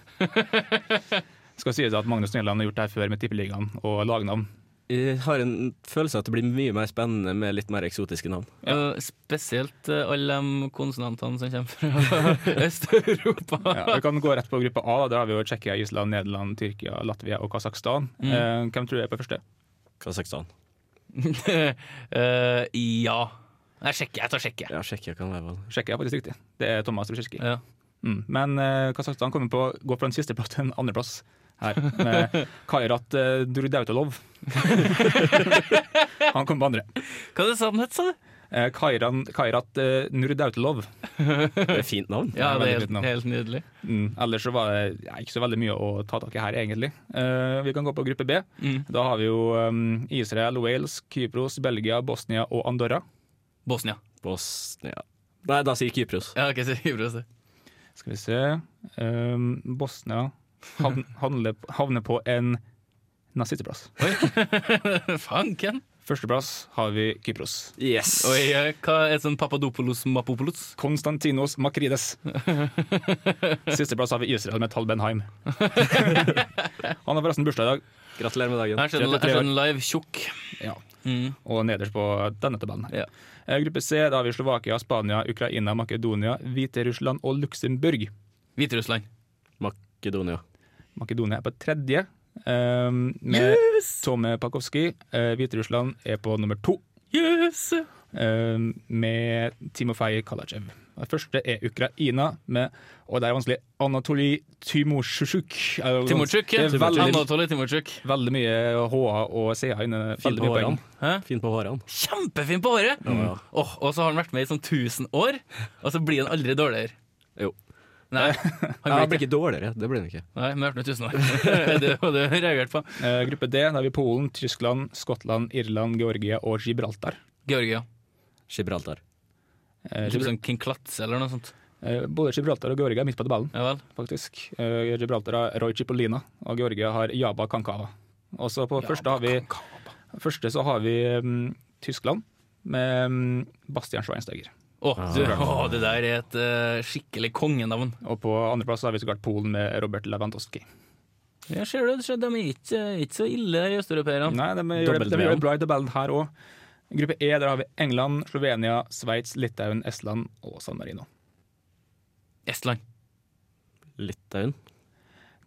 Skal sies at Magnus Nyland har gjort det her før med Tippeligaen og lagnavn.
Jeg har en følelse av at det blir mye mer spennende med litt mer eksotiske navn.
Eh, spesielt eh, alle de konsonantene som kommer
(laughs)
fra Øst-Europa.
Ja,
(laughs)
vi kan gå rett på gruppe A. Da. Der har vi jo Tsjekkia, Island, Nederland, Tyrkia, Latvia og Kasakhstan. Eh, hvem tror du er på første?
Kasakhstan.
Eh, ja. Jeg sjekker, jeg tar sjekker.
Ja, Tsjekkia kan være vel
Tsjekkia er faktisk riktig. Det er Thomas Rusjeskij.
Ja.
Mm. Men eh, Kasakhstan kommer på å gå fra en sisteplass til en andreplass her. Med Kairat eh, Durdautolov. Han kom på andre.
Hva sa du, sa du?
Eh, Kairan, Kairat eh, Nurdautolov.
Det er et fint navn.
Ja, det
veldig
er
fint navn.
helt, helt nydelig.
Mm. Ellers så var det ja, ikke så veldig mye å ta tak i her, egentlig. Eh, vi kan gå på gruppe B.
Mm.
Da har vi jo eh, Israel, Wales, Kypros, Belgia, Bosnia og Andorra.
Bosnia.
Bosnia Nei, da sier Kypros.
Ja, ok, så (laughs) gjorde jeg det.
Skal vi se Ehm, Bosnia havn, handler, havner på en nazisteplass.
Fanken!
Førsteplass har vi Kypros.
Yes!
Oi, eh, hva er sånn Papadopoulos Mapopolos?
Konstantinos Makrides. Sisteplass har vi Israel med Tal Benheim. Han har forresten bursdag i dag,
Gratulerer med dagen.
Her ser den- her ser den live tjukk.
Ja.
Mm.
og nederst på denne tabellen. her.
Ja.
Eh, Gruppe C da har vi Slovakia, Spania, Ukraina, Makedonia, Hviterussland og Luxembourg.
Hviterussland.
Makedonia.
Makedonia er på tredje, ehm, med Tome Pakowski. Eh, Hviterussland er på nummer to.
Yes!
eh, med Timofej Kalachev. Den første er Ukraina med Og det er vanskelig Anatolij Tymosjuk.
Timurchuk.
Det
ja.
er veldig,
Anatoly Timurchuk.
veldig mye H-a og C-a inne.
Fin
Veldig
på
mye poeng.
hårene.
Hæ?
Fin på hårene.
Kjempefin på håret!
Ja, ja.
Åh, og så har han vært med i sånn 1000 år, og så blir han aldri dårligere.
Jo.
(laughs) Nei,
Ja,
han
det
blir
blir
ikke
ikke dårligere. Det blir det ikke.
Nei, men han har vært med i 1000 år. (laughs) Det var det jeg reagerte på.
Eh, gruppe D, da har vi Polen, Tyskland, Skottland, Irland, Georgia og Gibraltar.
Georgia.
Gibraltar.
Eh,
Typ
Gibral-
sånn King Klatz eller noe sånt.
eh, både Gibraltar og Georgia er midt på tabellen,
Ja vel.
faktisk. Eh, Gibraltar har Roy Cipollina, og Georgia har Jaba Kankava. Og så på første har vi Første så har vi mm, Tyskland med mm, Bastian Schweinsteiger.
Åh, du, åh, det der er et eh, skikkelig kongenavn.
Og på andreplass har vi så klart Polen med Robert Lewandowski.
Ja, ser du, ser du, de er ikke, ikke så ille, de østeuropeerne.
Nei, de gjør det,
Dobbelt
de
med
gjør
han.
det bra i tabellen her òg. Gruppe E, der har vi England, Slovenia, Sveits, Litauen, Estland og San Marino.
Estland.
Litauen.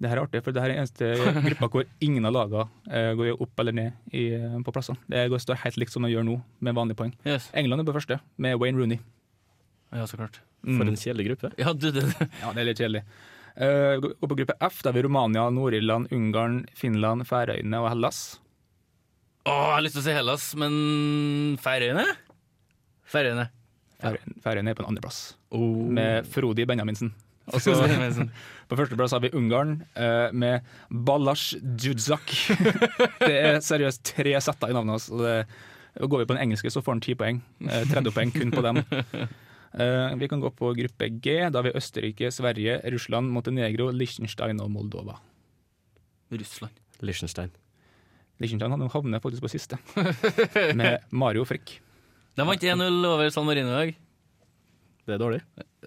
Det her er artig, for det her er (laughs) eneste gruppa hvor ingen av lagene eh, går opp eller ned i, eh, på plassene. Det går, står helt likt som de gjør nå, med vanlige poeng.
Yes.
England er på første, med Wayne Rooney.
Ja, så klart.
Mm.
For en kjedelig gruppe.
Ja, du, det, (laughs)
Ja, det er litt kjedelig. Eh, gå- gå på gruppe F, der har vi Romania, Nord-Irland, Ungarn, Finland, Færøyene og Hellas.
Åh, jeg har lyst til å si Hellas, men Færøyene? Færøyene.
Færøyene Færøyene er på en andreplass,
Oh. (laughs)
med Frodi Benjaminsen. Og så
sånn,
på førsteplass har vi Ungarn eh, med Balazs Judzak. (laughs) det er seriøst tre setter i navnet hans. og det- og Går vi på den engelske, så får han ti poeng. Eh, 30 poeng kun på dem. Eh, vi kan gå på gruppe G. Da har vi Østerrike, Sverige, Russland, Montenegro, Liechtenstein og Moldova.
Russland.
Liechtenstein.
Liechtenstein han havner faktisk på siste, med Mario Frikk.
De vant 1-0 over San Marino i dag. (laughs)
Det er dårlig.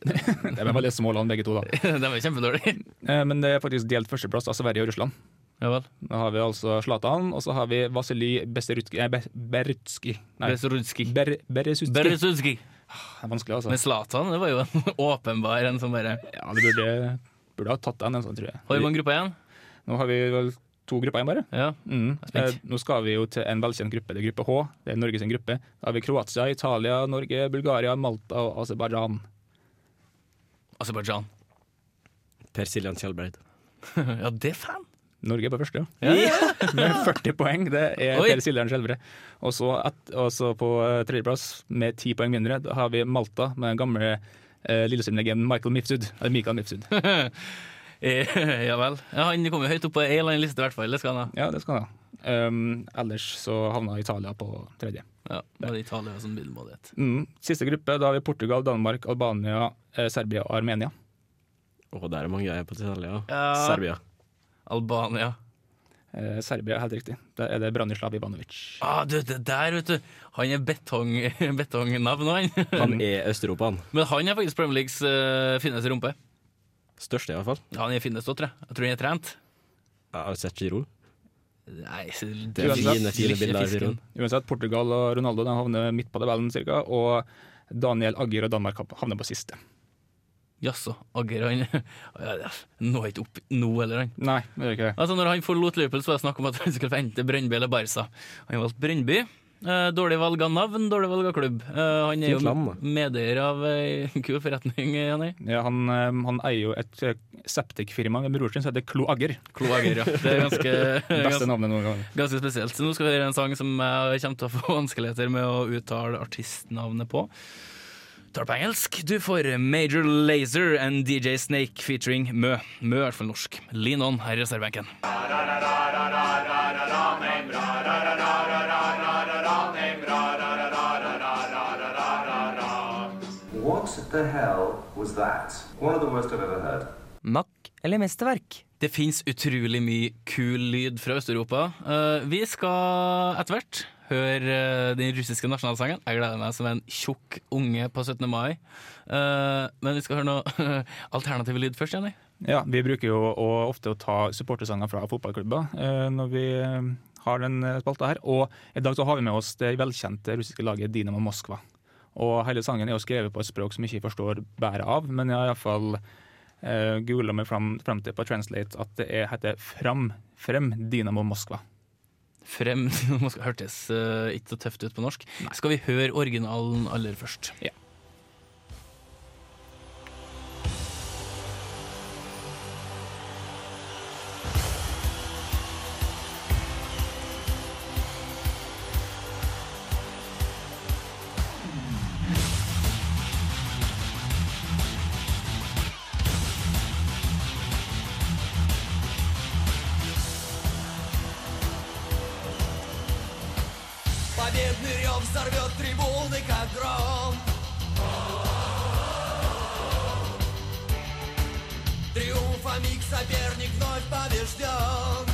Det er bare å lese målene, begge to, da.
De er kjempedårlige.
Eh, Men det er faktisk delt førsteplass av Sverige og Russland.
Ja vel.
Da har vi altså Zlatan, og så har vi Vasilij Beserutskij Nei, Be- Berutskij. Nei,
Beresudski.
Ber Beresutskij. Det
Beresudski.
er vanskelig, altså.
Men Zlatan det var jo en (laughs) åpenbar en som bare
Ja, du burde, burde ha tatt den, en sånn, tror
Har vi
jeg.
mange grupper igjen?
Nå har vi vel to grupper igjen, bare.
Ja.
Mm.
Jeg er
Eh, Nå skal vi jo til en velkjent gruppe. Det er gruppe H. Det er Norges gruppe. Da har vi Kroatia, Italia, Norge, Bulgaria, Malta og Aserbajdsjan.
Aserbajdsjan. (laughs)
Per Siljan Kjellbreid.
Ja, det er fan!
Norge er på første, ja.
Ja,
med 40 poeng. Det er
Oi.
Per Siljan Skjelbre. Og så et- og så på eh, tredjeplass, med ti poeng mindre, da har vi Malta med den gamle eh, Lillesund-legenden Michael Mifsud. Eller Mikael Mifsud.
Eh, (laughs) ja vel. Ja, han kom jo høyt opp på ei eller annen liste, i hvert fall. Det skal han ha.
Ja, det skal han ha. Um, ellers så havna Italia på tredje.
Ja, det er Italia som middelmådighet.
Mm. Siste gruppe, da har vi Portugal, Danmark, Albania, eh, Serbia og Armenia.
Å, der er mange jeg er på Italia.
Ja.
Serbia.
Albania.
Eh, Serbia er helt riktig. Da er det Branislav Ivanovic.
Ah, du, det der, vet du. Han er betong, (laughs) betongnavn, han.
Han er Øst-Europa, han.
Men han er faktisk Premier Leagues eh, fineste rumpe.
Største, i hvert fall.
Ja, han er finest òg, tror jeg. Jeg tror han er trent.
Jeg har sett Giro.
Nei,
Det er
Uansett,
fine, fine bilder av Giroen.
Uansett, Portugal og Ronaldo de havner midt på tabellen cirka, og Daniel Agger og Danmark havner på siste.
Jaså, Agger han (laughs) ja, ja, Nå er ikke opp nå heller, han.
Nei, det gjør ikke det.
Altså, når han forlot Liverpool, så var det snakk om at han skulle få enten Brøndby eller Barca. Han valgte Brøndby. Eh, dårlig valg av navn, dårlig valg av klubb. Eh, han er
Fint land, da.
jo medeier av ei kul forretning, eh, han er.
Ja, han, eh, han eier jo et eh, septikfirma med broren sin som heter Klo Agger.
Klo
(laughs)
Agger, ja. Det er ganske, (laughs)
(laughs)
Beste
ganske,
navnet noen gang.
ganske spesielt. Så nå skal vi høre en sang som jeg kommer til å få (laughs) vanskeligheter med å uttale artistnavnet på. Tar det på engelsk. Du får Major Lazer and DJ Snake featuring Mø. Mø er i hvert fall norsk. Lean on her i reservebenken.
Makk eller mesterverk?
Det fins utrolig mye kul lyd fra Øst-Europa. Eh, vi skal etter hvert høre eh, den russiske nasjonalsangen. Jeg gleder meg som en tjukk unge på 17. mai. Eh, men vi skal høre noe (laughs) alternativ lyd først, Jenny.
Ja, vi bruker jo å, ofte å ta supportersanger fra fotballklubber eh, når vi eh, har den eh, spalta her. Og i dag så har vi med oss det velkjente russiske laget Dinamo Moskva. Og hele sangen er jo skrevet på et språk som jeg ikke forstår bæret av, men jeg har iallfall eh, googla meg fram, fram til på Translate at det er, heter Fram, Frem Dinamo Moskva.
Frem (laughs) Nå skal- hørtes eh, ikke så tøft ut på norsk. Skal vi høre originalen aller først?
Ja.
Победный рев взорвет трибуны, как гром. Триумфа миг соперник вновь побежден.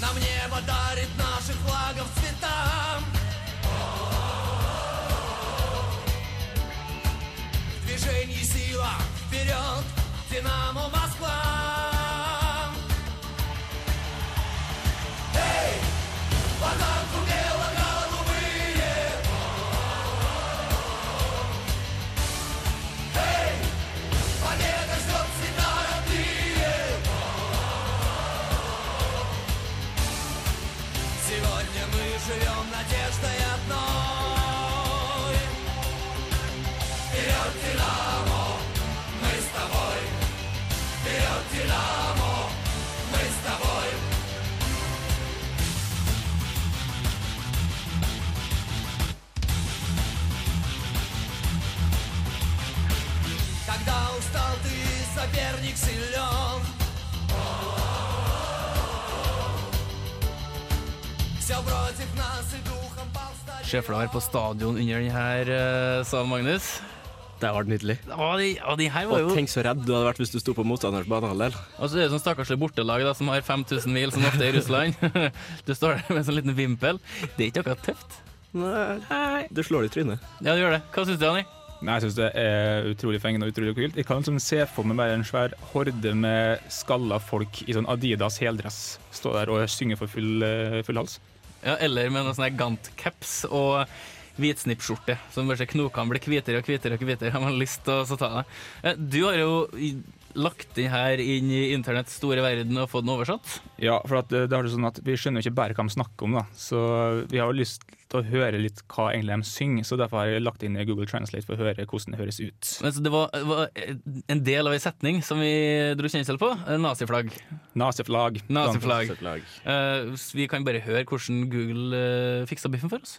Нам небо дарит наших флагов цветам. В движении сила вперед, Динамо Москва. Сегодня мы живем надеждой одной. Вперед, Динамо, мы с тобой. денег силен Все против нас и духом повстать
Sjeflar på stadion under den her, eh, sa Magnus.
Det var nydelig.
Og de, og de her var
Og
jo
tenk så redd du hadde vært hvis du sto på motstanderens banehalvdel.
Og så er det sånn stakkarslig bortelag da, som har 5000 mil, som ofte er i Russland. (laughs) Du står der med en sånn liten vimpel. Det er ikke akkurat tøft.
Nei. Du slår det i trynet.
Ja, du gjør det. Hva syns du, Anni?
Nei, Jeg syns det er utrolig fengende og utrolig kult. Jeg kan liksom se for meg bare en svær horde med skalla folk i sånn Adidas heldress stå der og synge for full, eh, full hals.
Ja, eller med noen sånne Gant-caps og hvitsnippskjorte, som bare ser knokene blir hvitere og hvitere og hvitere. Har man lyst til å så ta det. Eh, Du har jo i- lagt den her inn i internetts store verden og fått den oversatt.
Ja, for at eh, det er jo sånn at vi skjønner jo ikke bare hva de snakker om, da. Så vi har jo lyst til å høre litt hva egentlig de synger, så derfor har jeg lagt inn i Google Translate for å høre hvordan det høres ut.
Men så det var, var en del av en setning som vi dro kjensel på. eh, Naziflagg.
Naziflag.
Naziflagg.
Lag.
Eh, s- vi kan bare høre hvordan Google eh, fiksa biffen for oss.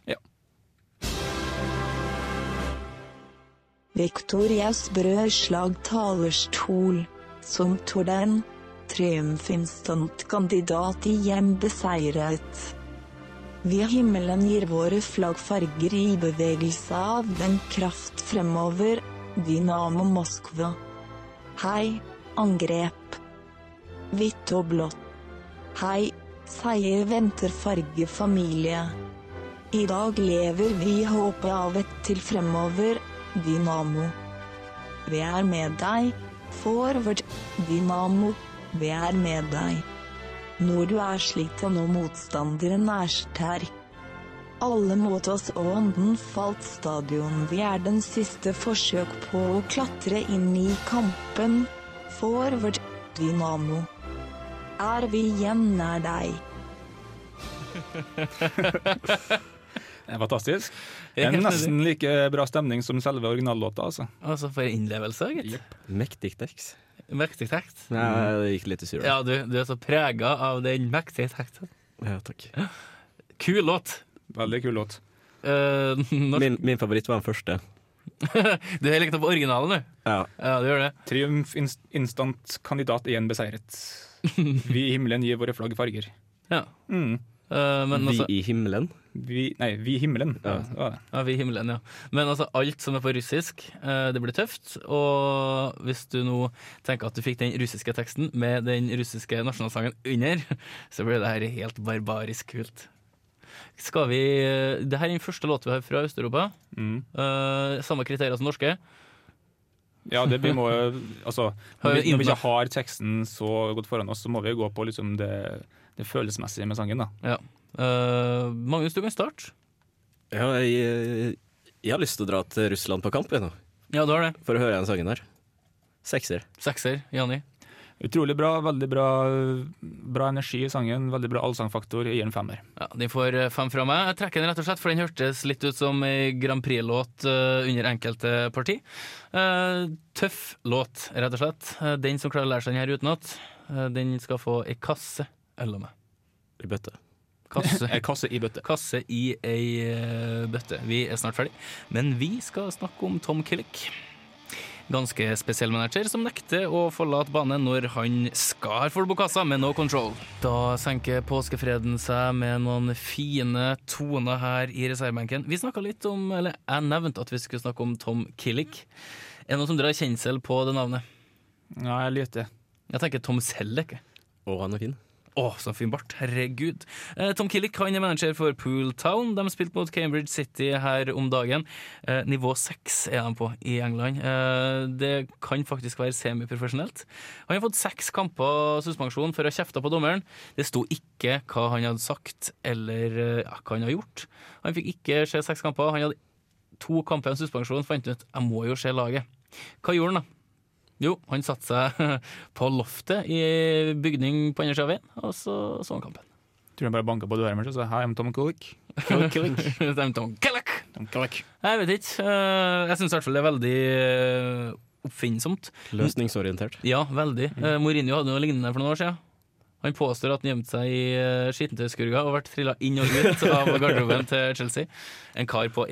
Victorias brødslag talerstol, som torden, triumfinstant-kandidat igjen beseiret. Vi himmelen gir våre flaggfarger i bevegelse av den kraft fremover, Dynamo Moskva. Hei, angrep. Hvitt og blått. Hei, seier venter fargefamilie. I dag lever vi i håpet av et til fremover, Dynamo. Vi er med deg, forward, Dynamo, vi er med deg. Når du er sliten og motstanderen er sterk. Alle mot oss og ånden falt stadion. Vi er den siste forsøk på å klatre inn i kampen. Forward, Dynamo. Er vi igjen nær deg?
Det er Fantastisk.
Jeg er
En
helt
nesten like bra stemning som selve originallåta, altså.
Altså for innlevelse, gitt.
Mektig tekst.
Mektig tekst.
Nei, det gikk litt i surr.
Ja, du, du er så prega av den mektige teksten.
Ja, takk.
Kul låt.
Veldig kul låt.
Eh, (laughs) norsk-
Min, min favoritt var den første.
du har likt den på originalen, du.
Ja.
Ja, du gjør det.
Triumf inst instant kandidat igjen (laughs) beseiret. Vi i himmelen gir våre flagg farger.
Ja.
Mm.
Eh, men
Vi
altså,
i himmelen.
Vi, nei, vi i himmelen. Ja.
Ja.
det var det.
ja, vi i himmelen, ja. Men altså, alt som er på russisk, eh, det blir tøft. Og hvis du nå tenker at du fikk den russiske teksten med den russiske nasjonalsangen under, (laughs) så blir det her helt barbarisk kult. Skal vi eh, Det her er den første låta vi har fra Øst-Europa.
Mm.
Eh, samme kriterier som norske.
ja, det vi må Altså,
Har
når
vi
vi, når vi
inne-
ikke har teksten så godt foran oss, så må vi gå på liksom det, det følelsesmessige med sangen, da.
Eh, Magnus, du kan starte.
Ja, jeg, eh, jeg har lyst til å dra til Russland på kamp jeg, nå,
Ja, du har det.
for å høre den sangen her. Sekser.
Sekser, Jani.
Utrolig bra. Veldig bra, bra energi i sangen. Veldig bra allsangfaktor. Jeg gir en femmer.
Ja, Den får eh, fem fra meg. Jeg trekker den rett og slett, for den hørtes litt ut som ei Grand Prix-låt eh, under enkelte parti. Eh, tøff låt, rett og slett. Eh, den som klarer å lære seg den her utenat, eh, den skal få ei kasse øl av meg.
I bøtte.
Eh, Kasse.
En kasse i bøtte.
kasse i ei eh, bøtte. Vi er snart ferdig, men vi skal snakke om Tom Killick. Ganske spesiell manager som nekter å forlate banen når han skar for Bokassa med no control. Da senker påskefreden seg med noen fine toner her i reservebenken. Vi snakka litt om, eller jeg nevnte at vi skulle snakke om Tom Killick. Er det noen som drar kjensel på det navnet?
Nei, lite.
Jeg tenker Tom Selleck. jeg.
Å, han er fin.
Å, så fin bart. Herregud. Eh, Tom Killick han er manager for Pool Town. De spilte mot Cambridge City her om dagen. Eh, nivå seks er de på i England. Eh, det kan faktisk være semiprofesjonelt. Han har fått seks kamper suspensjon for å ha kjefta på dommeren. Det sto ikke hva han hadde sagt eller eh, ja, hva han hadde gjort. Han fikk ikke se seks kamper. Han hadde to kamper og en suspensjon. Fant ut jeg må jo se laget. Hva gjorde han, da? Jo, han satte seg (laughs) på loftet i bygning på andre sida av veien, og så så han kampen. (laughs)
Tror jeg bare banka på døra mi og sa hei, I'm Tom Kulik.
(laughs) Så tenkte han, «Kellek!»
Tom Kulik.
Jeg vet ikke. eh, Jeg syns i hvert fall det er veldig eh, oppfinnsomt. Mm.
Løsningsorientert.
Ja, veldig. Eh, Mourinho hadde noe lignende for noen år siden. Han påstår at han gjemte seg i eh, skittentøyskurga og ble trilla inn og (laughs) ut av garderoben til Chelsea. En kar på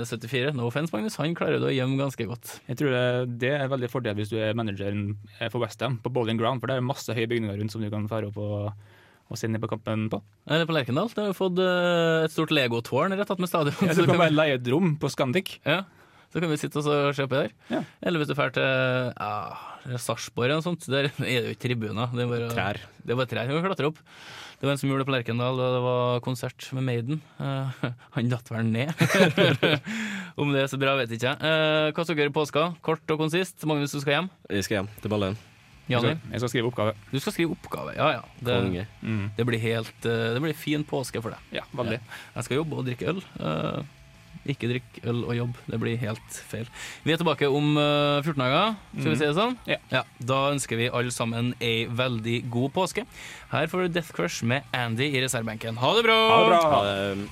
1,74. No offense, Magnus, han klarer det å gjemme ganske godt.
Jeg tror det, det er veldig fordel hvis du er manageren for Westham på Bowling Ground, for det er masse høye bygninger rundt som du kan fære opp og, og sende på kampen på.
Nei, det er på Lerkendal. Det har jo fått eh, et stort legotårn rett attmed stadion.
Ja, du
Så
kan
kan
bare leie et rom på Scandic.
Ja, så kan vi sitte og så se på det der. Eller hvis du drar til ja, Sarpsborg eller noe sånt, der er det jo ikke tribuner. Det er bare
Trær.
Det er bare trær. Du kan klatre opp. Det var en som gjorde det på Lerkendal, og det var konsert med Maiden. Eh, (laughs) han datt vel ned. Om det er så bra, vet ikke jeg. Eh, hva skal dere gjøre i påska? Kort og konsist. Magnus, du skal hjem.
Jeg skal hjem til Balløyen.
Jani?
Jeg skal skrive oppgave.
Du skal skrive oppgave, ja ja. Det,
Konge.
det blir helt eh, Det blir fin påske for deg.
Ja, veldig.
Jeg skal jobbe og drikke øl. Eh, ikke drikk øl og jobb, det blir helt feil. Vi er tilbake om eh, 14 dager, skal vi
Mhm.
si det sånn?
Ja.
Da ønsker vi alle sammen ei veldig god påske. Her får du Death Crush med Andy i reservebenken. Ha det bra!
Ha det bra!
Ha det.